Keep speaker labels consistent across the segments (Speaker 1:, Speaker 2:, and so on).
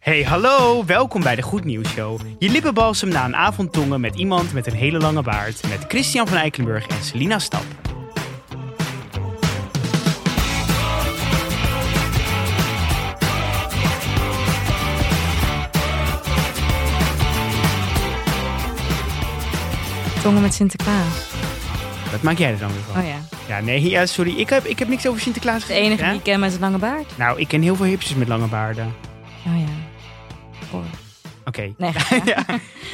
Speaker 1: Hey, hallo, welkom bij de Goed Nieuws Show. Je lippenbalsem na een avond tongen met iemand met een hele lange baard. Met Christian van Eikelenburg en Selina Stap.
Speaker 2: Tongen met Sinterklaas.
Speaker 1: Wat maak jij er dan weer van?
Speaker 2: Oh ja.
Speaker 1: Ja, nee, ja, sorry. Ik heb, ik heb niks over Sinterklaas
Speaker 2: De
Speaker 1: gezegd.
Speaker 2: enige
Speaker 1: hè?
Speaker 2: die ik ken met een lange baard.
Speaker 1: Nou, ik ken heel veel hipsters met lange baarden.
Speaker 2: Oh ja. Hoor.
Speaker 1: Oké.
Speaker 2: Nee, ga-
Speaker 1: ja.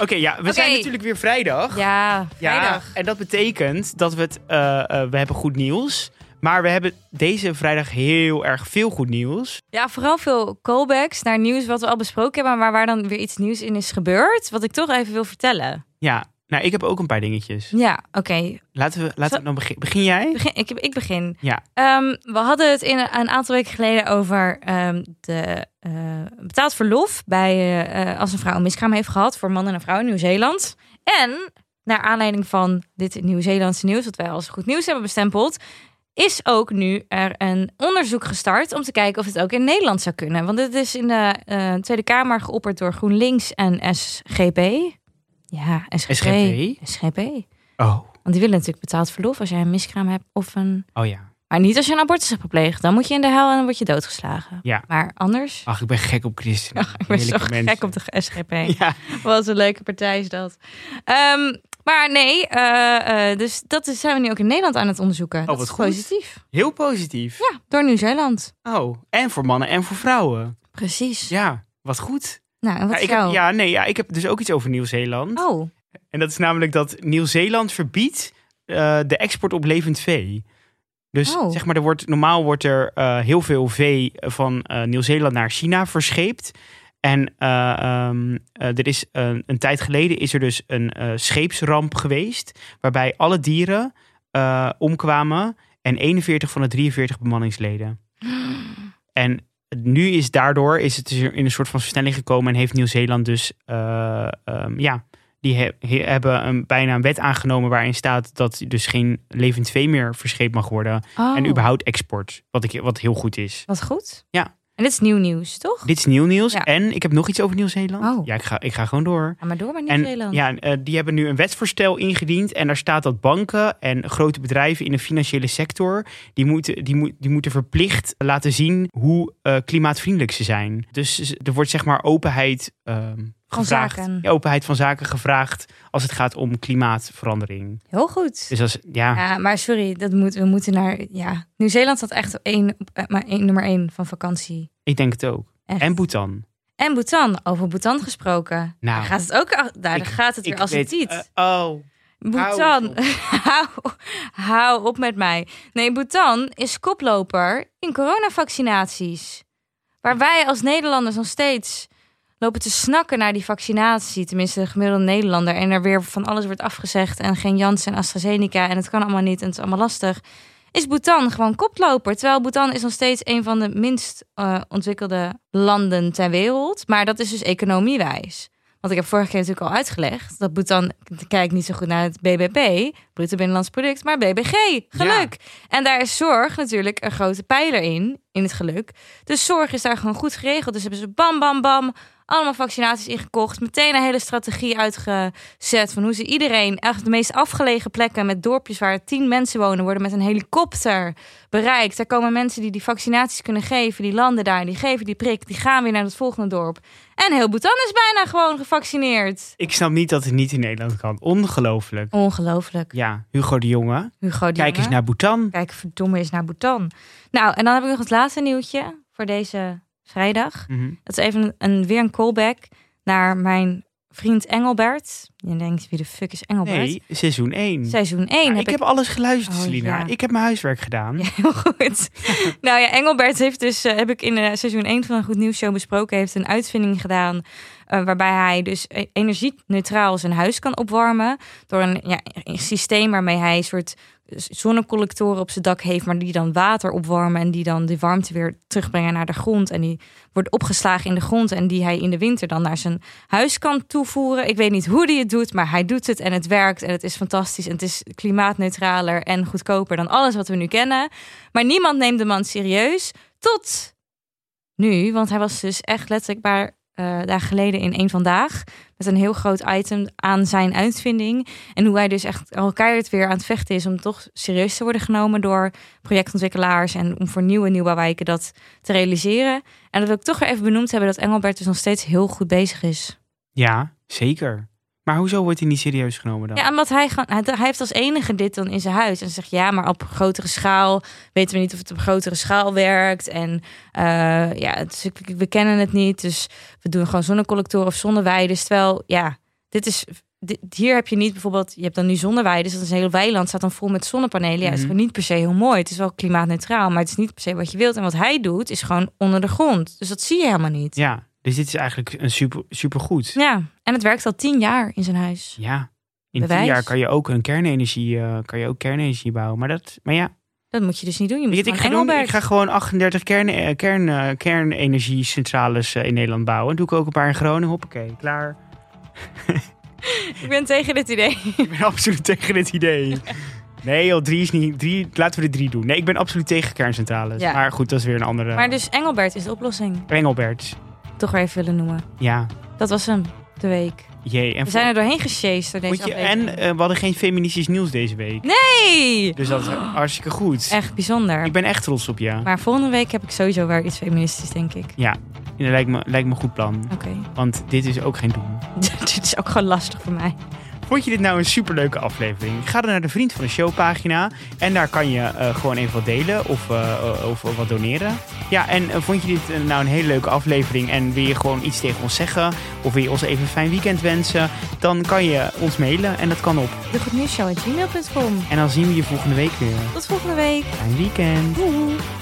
Speaker 1: Oké, ja, we zijn
Speaker 2: Nou Oké.
Speaker 1: natuurlijk weer vrijdag.
Speaker 2: ja,
Speaker 1: Ja,
Speaker 2: vrijdag.
Speaker 1: en dat betekent dat we het, eh, eh, we hebben goed nieuws. Maar we hebben deze vrijdag heel erg veel goed nieuws.
Speaker 2: Ja, vooral veel callbacks naar nieuws wat we al besproken hebben, maar waar dan weer iets nieuws in is gebeurd, wat ik toch even wil vertellen.
Speaker 1: Ja, nou, ik heb ook een paar dingetjes.
Speaker 2: Ja, oké.
Speaker 1: Laten we, laten we dan beginnen. Begin jij?
Speaker 2: Begin, ik, ik begin.
Speaker 1: Ja.
Speaker 2: Ehm, we hadden het in, een aantal weken geleden over ehm, de eh, betaald verlof bij, eh, eh, als een vrouw een miskraam heeft gehad voor man en een vrouw in Nieuw-Zeeland. En naar aanleiding van dit Nieuw-Zeelandse nieuws, wat wij als goed nieuws hebben bestempeld, is ook nu er een onderzoek gestart om te kijken of het ook in Nederland zou kunnen. Want dit is in de eh, Tweede Kamer geopperd door GroenLinks en SGP. Ja, SGP.
Speaker 1: SGP?
Speaker 2: SGP.
Speaker 1: Oh,
Speaker 2: Want die willen natuurlijk betaald verlof als jij een miskraam hebt of een
Speaker 1: oh ja.
Speaker 2: maar niet als je een abortus hebt gepleegd. Dan moet je in de hel en dan word je doodgeslagen.
Speaker 1: Ja.
Speaker 2: Maar anders...
Speaker 1: Ach, ik ben gek op christenen.
Speaker 2: Ik ben zo
Speaker 1: Heerlijke mensen.
Speaker 2: gek op de SGP.
Speaker 1: Ja,
Speaker 2: Wat een leuke partij is dat. Ehm, maar nee, eh, eh, dus dat is- zijn we nu ook in Nederland aan het onderzoeken. dat
Speaker 1: Oh, wat
Speaker 2: is
Speaker 1: goed.
Speaker 2: positief.
Speaker 1: heel positief.
Speaker 2: Ja, door Nieuw-Zeeland.
Speaker 1: Oh, en voor mannen en voor vrouwen.
Speaker 2: Precies.
Speaker 1: Ja, wat goed.
Speaker 2: Nou, en wat
Speaker 1: Ja, ik
Speaker 2: is
Speaker 1: heb,
Speaker 2: jou?
Speaker 1: ja, nee, ja, ik heb dus ook iets over Nieuw-Zeeland.
Speaker 2: Oh,
Speaker 1: En dat is namelijk dat Nieuw-Zeeland verbiedt eh, de export op levend vee. Dus
Speaker 2: Oh.
Speaker 1: zeg maar, er wordt, normaal wordt er eh, heel veel vee van eh, Nieuw-Zeeland naar China verscheept. En eh, ehm, eh, er is een, een tijd geleden is er dus een eh, scheepsramp geweest. Waarbij alle dieren eh, omkwamen en 41 van de 43 bemanningsleden. En nu is daardoor is het dus in een soort van versnelling gekomen en heeft Nieuw-Zeeland dus eh, ehm, ja, die he- he- hebben een, bijna een wet aangenomen waarin staat dat dus geen levend vee meer verscheept mag worden
Speaker 2: oh.
Speaker 1: en überhaupt export, wat, ik, wat heel goed is.
Speaker 2: Wat goed.
Speaker 1: Ja.
Speaker 2: En dit is nieuw nieuws, toch?
Speaker 1: Dit is nieuw nieuws
Speaker 2: Ja.
Speaker 1: en ik heb nog iets over Nieuw-Zeeland.
Speaker 2: Oh.
Speaker 1: Ja, ik ga, ik ga gewoon door.
Speaker 2: Ga maar door met
Speaker 1: En
Speaker 2: Nieuw-Zeeland.
Speaker 1: ja, eh, die hebben nu een wetsvoorstel ingediend. En daar staat dat banken en grote bedrijven in de financiële sector. die moeten, die moet, die moeten verplicht laten zien hoe eh, klimaatvriendelijk ze zijn. Dus ze- er wordt zeg maar openheid. ehm,
Speaker 2: Van
Speaker 1: gevraagd.
Speaker 2: zaken.
Speaker 1: Ja, openheid van zaken gevraagd. als het gaat om klimaatverandering.
Speaker 2: Heel goed.
Speaker 1: Dus als, ja,
Speaker 2: Ja, maar sorry, dat moet, we moeten naar... Ja, Nieuw-Zeeland staat echt op één, op, eh, maar één, nummer één van vakantie.
Speaker 1: ik denk het ook.
Speaker 2: Echt.
Speaker 1: En Bhutan.
Speaker 2: En Bhutan, over Bhutan gesproken.
Speaker 1: Nou,
Speaker 2: daar gaat het ook daar- daar
Speaker 1: ik-
Speaker 2: gaat het weer als een
Speaker 1: weet-
Speaker 2: tiet.
Speaker 1: eh, oh,
Speaker 2: Bhutan,
Speaker 1: op.
Speaker 2: hou, hou op met mij. Nee, Bhutan is koploper in coronavaccinaties. Waar wij als Nederlanders nog steeds lopen te snakken naar die vaccinatie. Tenminste, de gemiddelde Nederlander. En er weer van alles wordt afgezegd. En geen Janssen en AstraZeneca. En het kan allemaal niet. En het is allemaal lastig. Is Bhutan gewoon koploper. Terwijl Bhutan is nog steeds een van de minst eh, ontwikkelde landen ter wereld. Maar dat is dus economiewijs. Want ik heb vorige keer natuurlijk al uitgelegd dat Bhutan kijkt niet zo goed naar het BBP, bruto binnenlands product, maar BBG, geluk. En daar is zorg natuurlijk een grote pijler in, in het geluk. Dus zorg is daar gewoon goed geregeld. Dus hebben ze bam, bam, bam, allemaal vaccinaties ingekocht. Meteen een hele strategie uitgezet van hoe ze iedereen, echt de meest afgelegen plekken met dorpjes waar tien mensen wonen, worden met een helikopter bereikt. Daar komen mensen die die vaccinaties kunnen geven, die landen daar, die geven die prik, die gaan weer naar het volgende dorp. En heel Bhutan is bijna gewoon gevaccineerd.
Speaker 1: Ik snap niet dat het niet in Nederland kan. Ongelooflijk.
Speaker 2: Ongelooflijk.
Speaker 1: Ja, Hugo de Jonge.
Speaker 2: Hugo de
Speaker 1: Kijk eens
Speaker 2: Jonge.
Speaker 1: naar Bhutan.
Speaker 2: Kijk, verdomme eens naar Bhutan. Nou, en dan heb ik nog het laatste nieuwtje voor deze vrijdag.
Speaker 1: Mhm.
Speaker 2: Dat is even een, een- weer een callback naar mijn vriend Engelbert. Je denkt, wie de fuck is Engelbert?
Speaker 1: Nee, seizoen 1.
Speaker 2: Seizoen 1
Speaker 1: Ja,
Speaker 2: heb
Speaker 1: ik heb alles geluisterd,
Speaker 2: Oh,
Speaker 1: Selina.
Speaker 2: ja.
Speaker 1: Ik heb mijn huiswerk gedaan.
Speaker 2: Ja, heel goed. nou ja, Engelbert heeft dus, eh, heb ik in eh, seizoen 1 van een Goed Nieuws Show besproken, heeft een uitvinding gedaan eh, waarbij hij dus eh, energie-neutraal zijn huis kan opwarmen door een, ja, een systeem waarmee hij een soort zonnecollectoren op zijn dak heeft, maar die dan water opwarmen en die dan die warmte weer terugbrengen naar de grond en die wordt opgeslagen in de grond en die hij in de winter dan naar zijn huis kan toevoeren. Ik weet niet hoe hij het doet, maar hij doet het en het werkt en het is fantastisch en het is klimaatneutraler en goedkoper dan alles wat we nu kennen. Maar niemand neemt de man serieus tot nu, want hij was dus echt letterlijk maar eh, dagen geleden in één vandaag. Met een heel groot item aan zijn uitvinding. En hoe hij dus echt elkaar het weer aan het vechten is om toch serieus te worden genomen door projectontwikkelaars. En om voor nieuwe nieuwbouwwijken dat te realiseren. En dat wil ik toch weer even benoemd hebben dat Engelbert dus nog steeds heel goed bezig is.
Speaker 1: Ja, zeker. Maar hoezo wordt hij niet serieus genomen dan?
Speaker 2: Ja, omdat hij gewoon, hij, hij heeft als enige dit dan in zijn huis. En ze zegt ja, maar op grotere schaal weten we niet of het op grotere schaal werkt. En eh, ja, het is- ik- we kennen het niet. Dus we doen gewoon zonnecollectoren of zonneweiden. Terwijl, ja, dit is. dit- hier heb je niet bijvoorbeeld, je hebt dan nu zonneweiden. Dus dat is een heel weiland, staat dan vol met zonnepanelen. Ja, het is
Speaker 1: Mhm.
Speaker 2: gewoon niet per se heel mooi. Het is wel klimaatneutraal, maar het is niet per se wat je wilt. En wat hij doet, is gewoon onder de grond. Dus dat zie je helemaal niet.
Speaker 1: Ja, dus dit is eigenlijk een super, supergoed.
Speaker 2: Ja, en het werkt al tien jaar in zijn huis.
Speaker 1: Ja. In tien
Speaker 2: Bewijs.
Speaker 1: jaar kan je ook een kernenergie, eh, kan je ook kernenergie bouwen. Maar, dat, maar ja,
Speaker 2: Dat moet je dus niet doen. Je moet
Speaker 1: weet je wat
Speaker 2: gewoon
Speaker 1: ik ga doen?
Speaker 2: Engelbert.
Speaker 1: Ik ga gewoon 38 kern, eh, kern, eh, kernenergiecentrales eh, in Nederland bouwen. Doe ik ook een paar in Groningen. Hoppakee, klaar.
Speaker 2: Ik ben tegen dit idee.
Speaker 1: Ik ben absoluut tegen dit idee. Nee joh, drie is niet... Drie, laten we er drie doen. Nee, ik ben absoluut tegen kerncentrales.
Speaker 2: Ja.
Speaker 1: Maar goed, dat is weer een andere...
Speaker 2: Maar dus Engelbert is de oplossing.
Speaker 1: Engelbert.
Speaker 2: Toch weer even willen noemen.
Speaker 1: Ja.
Speaker 2: Dat was hem, de week.
Speaker 1: Jee. En
Speaker 2: We zijn er doorheen gesjeest door
Speaker 1: moet
Speaker 2: deze
Speaker 1: je, en
Speaker 2: aflevering.
Speaker 1: eh, we hadden geen feministisch nieuws deze week.
Speaker 2: Hey!
Speaker 1: Dus dat is hartstikke goed.
Speaker 2: Echt bijzonder.
Speaker 1: Ik ben echt trots op je.
Speaker 2: Oh. Maar volgende week heb ik sowieso weer iets feministisch, denk ik.
Speaker 1: Dat lijkt me, lijkt me een goed plan.
Speaker 2: Oké.
Speaker 1: Want dit is ook geen doen.
Speaker 2: dit is ook gewoon lastig voor mij.
Speaker 1: Vond je dit nou een superleuke aflevering? Ga dan naar de Vriend van de Show pagina. En daar kan je eh, gewoon even wat delen of, eh, eh, of wat doneren. Ja, en eh, vond je dit eh, nou een hele leuke aflevering en wil je gewoon iets tegen ons zeggen? Of wil je ons even een fijn weekend wensen? Dan kan je ons mailen en dat kan op.
Speaker 2: De Goed Nieuws Show at gmail.com.
Speaker 1: En dan zien we je volgende week weer.
Speaker 2: Tot volgende week.
Speaker 1: Fijn weekend.
Speaker 2: Doei.